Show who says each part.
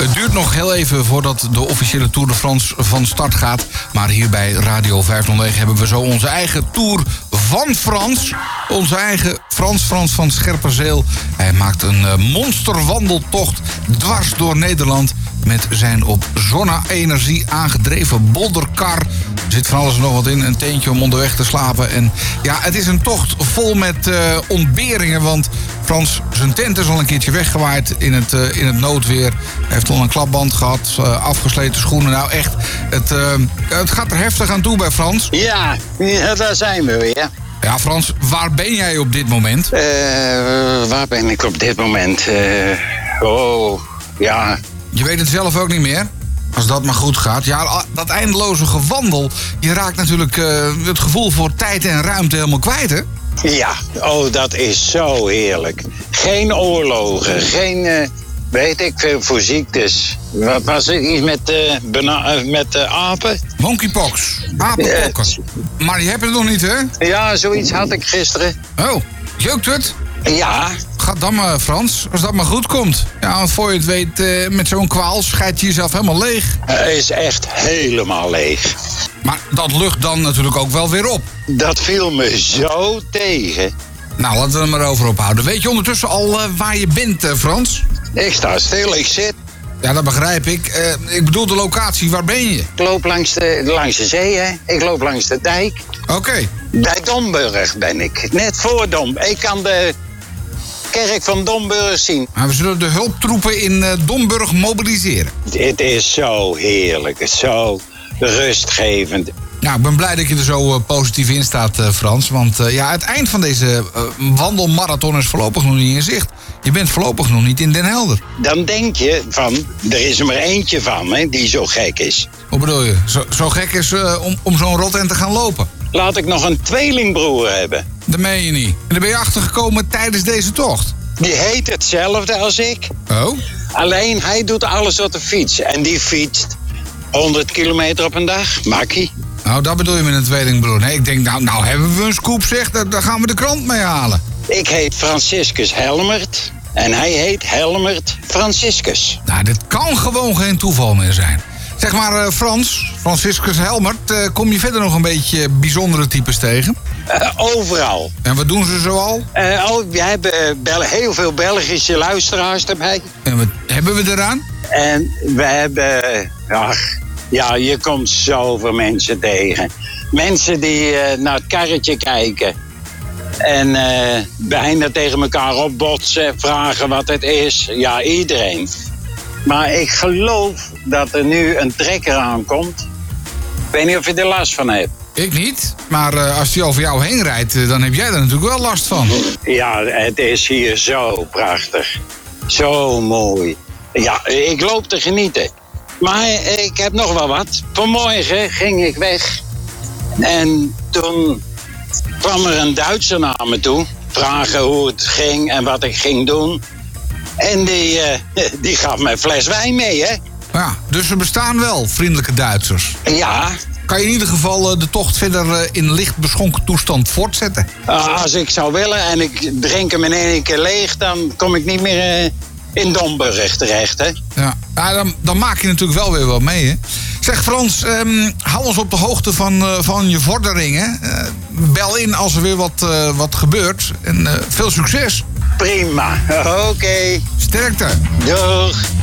Speaker 1: Het duurt nog heel even voordat de officiële Tour de France van start gaat. Maar hier bij Radio 509 hebben we zo onze eigen Tour van Frans. Onze eigen Frans Frans van Scherpenzeel. Hij maakt een eh, monsterwandeltocht dwars door Nederland. Met zijn op zonne-energie aangedreven bolderkar. Er zit van alles en nog wat in. Een teentje om onderweg te slapen. En ja, het is een tocht vol met eh, ontberingen. Want Frans, zijn tent is al een keertje weggewaaid in het, eh, in het noodweer. Hij heeft al een klapband gehad, eh, afgesleten schoenen. Nou echt, het, eh, het gaat er heftig aan toe bij Frans.
Speaker 2: Ja, ja, daar zijn we weer.
Speaker 1: Ja, Frans, waar ben jij op dit moment?
Speaker 2: Eh, waar ben ik op dit moment? Eh, oh, ja.
Speaker 1: Je weet het zelf ook niet meer. Als dat maar goed gaat. Ja, a- dat eindeloze gewandel. Je raakt natuurlijk eh, het gevoel voor tijd en ruimte helemaal kwijt, hè?
Speaker 2: Ja, oh, dat is zo heerlijk. Geen oorlogen, geen, eh, weet ik veel, voor ziektes. Wat was het, iets met, eh, bana- eh, met eh, apen?
Speaker 1: Monkeypox, apenpokken. Maar je hebt het nog niet, hè?
Speaker 2: Ja, zoiets had ik gisteren.
Speaker 1: Oh, jeukt het?
Speaker 2: Ja,
Speaker 1: Ga dan maar, Frans. Als dat maar goed komt. Ja, want voor je het weet, eh, met zo'n kwaal scheid je jezelf helemaal leeg.
Speaker 2: hij is echt helemaal leeg.
Speaker 1: Maar dat lucht dan natuurlijk ook wel weer op.
Speaker 2: Dat viel me zo tegen.
Speaker 1: Nou, laten we er maar over ophouden. Weet je ondertussen al eh, waar je bent, eh, Frans?
Speaker 2: Ik sta stil, ik zit.
Speaker 1: Ja, dat begrijp ik. Eh, ik bedoel de locatie, waar ben je?
Speaker 2: Ik loop langs de, langs de zee, hè. Ik loop langs de dijk.
Speaker 1: Oké.
Speaker 2: Bij Domburg ben ik. Net voor Dom. Ik kan de kerk van Domburg zien.
Speaker 1: Maar we zullen de hulptroepen in eh, Domburg mobiliseren.
Speaker 2: Dit is zo heerlijk. Het is zo rustgevend.
Speaker 1: Nou, ik ben blij dat je er zo eh, positief in staat, eh, Frans. Want eh, ja, het eind van deze eh, wandelmarathon is voorlopig nog niet in zicht. Je bent voorlopig nog niet in Den Helder.
Speaker 2: Dan denk je van, er is er maar eentje van hè, die zo gek is.
Speaker 1: Hoe bedoel je? Zo, zo gek is eh, om, om zo'n rotent te gaan lopen.
Speaker 2: Laat ik nog een tweelingbroer hebben.
Speaker 1: Dat meen je niet. En daar ben je achtergekomen tijdens deze tocht.
Speaker 2: Die heet hetzelfde als ik.
Speaker 1: Oh?
Speaker 2: Alleen hij doet alles op de fiets. En die fietst 100 kilometer op een dag. Makkie.
Speaker 1: Nou, dat bedoel je met een tweelingbroer. Nee, ik denk, nou, nou hebben we een scoop, zeg. Daar, daar gaan we de krant mee halen.
Speaker 2: Ik heet Franciscus Helmert. En hij heet Helmert Franciscus.
Speaker 1: Nou, dit kan gewoon geen toeval meer zijn. Zeg maar, eh, Frans, Franciscus Helmert, eh, kom je verder nog een beetje bijzondere types tegen?
Speaker 2: Eh, overal.
Speaker 1: En wat doen ze zoal?
Speaker 2: Eh, oh, we hebben eh, Bel- heel veel Belgische luisteraars erbij.
Speaker 1: En wat hebben we eraan?
Speaker 2: En we hebben. eh, Ach, ja, je komt zoveel mensen tegen. Mensen die eh, naar het karretje kijken. En eh, bijna tegen elkaar opbotsen, vragen wat het is. Ja, iedereen. Maar ik geloof dat er nu een trekker aankomt. Ik weet niet of je er last van hebt.
Speaker 1: Ik niet. Maar eh, als die over jou heen rijdt, eh, dan heb jij er natuurlijk wel last van.
Speaker 2: Ja, het is hier zo prachtig. Zo mooi. Ja, ik loop te genieten. Maar ik heb nog wel wat. Vanmorgen ging ik weg. En toen kwam er een Duitser naar me toe. Vragen hoe het ging en wat ik ging doen. En die, eh, die gaf mij een fles wijn mee, hè?
Speaker 1: Ja, dus ze bestaan wel, vriendelijke Duitsers.
Speaker 2: Ja,
Speaker 1: Kan je in ieder geval eh, de tocht verder eh, in licht beschonken toestand voortzetten?
Speaker 2: eh, als ik zou willen en ik drink hem in één keer leeg... dan kom ik niet meer eh, in Domburg terecht, hè?
Speaker 1: Ja, ja dan, dan maak je natuurlijk wel weer wat mee, hè? Zeg Frans, ehm, hou ons op de hoogte van, eh, van je vorderingen. Eh, bel in als er weer wat, eh, wat gebeurt. En eh, veel succes.
Speaker 2: Prima. Oké.
Speaker 1: Sterkte.
Speaker 2: Doeg.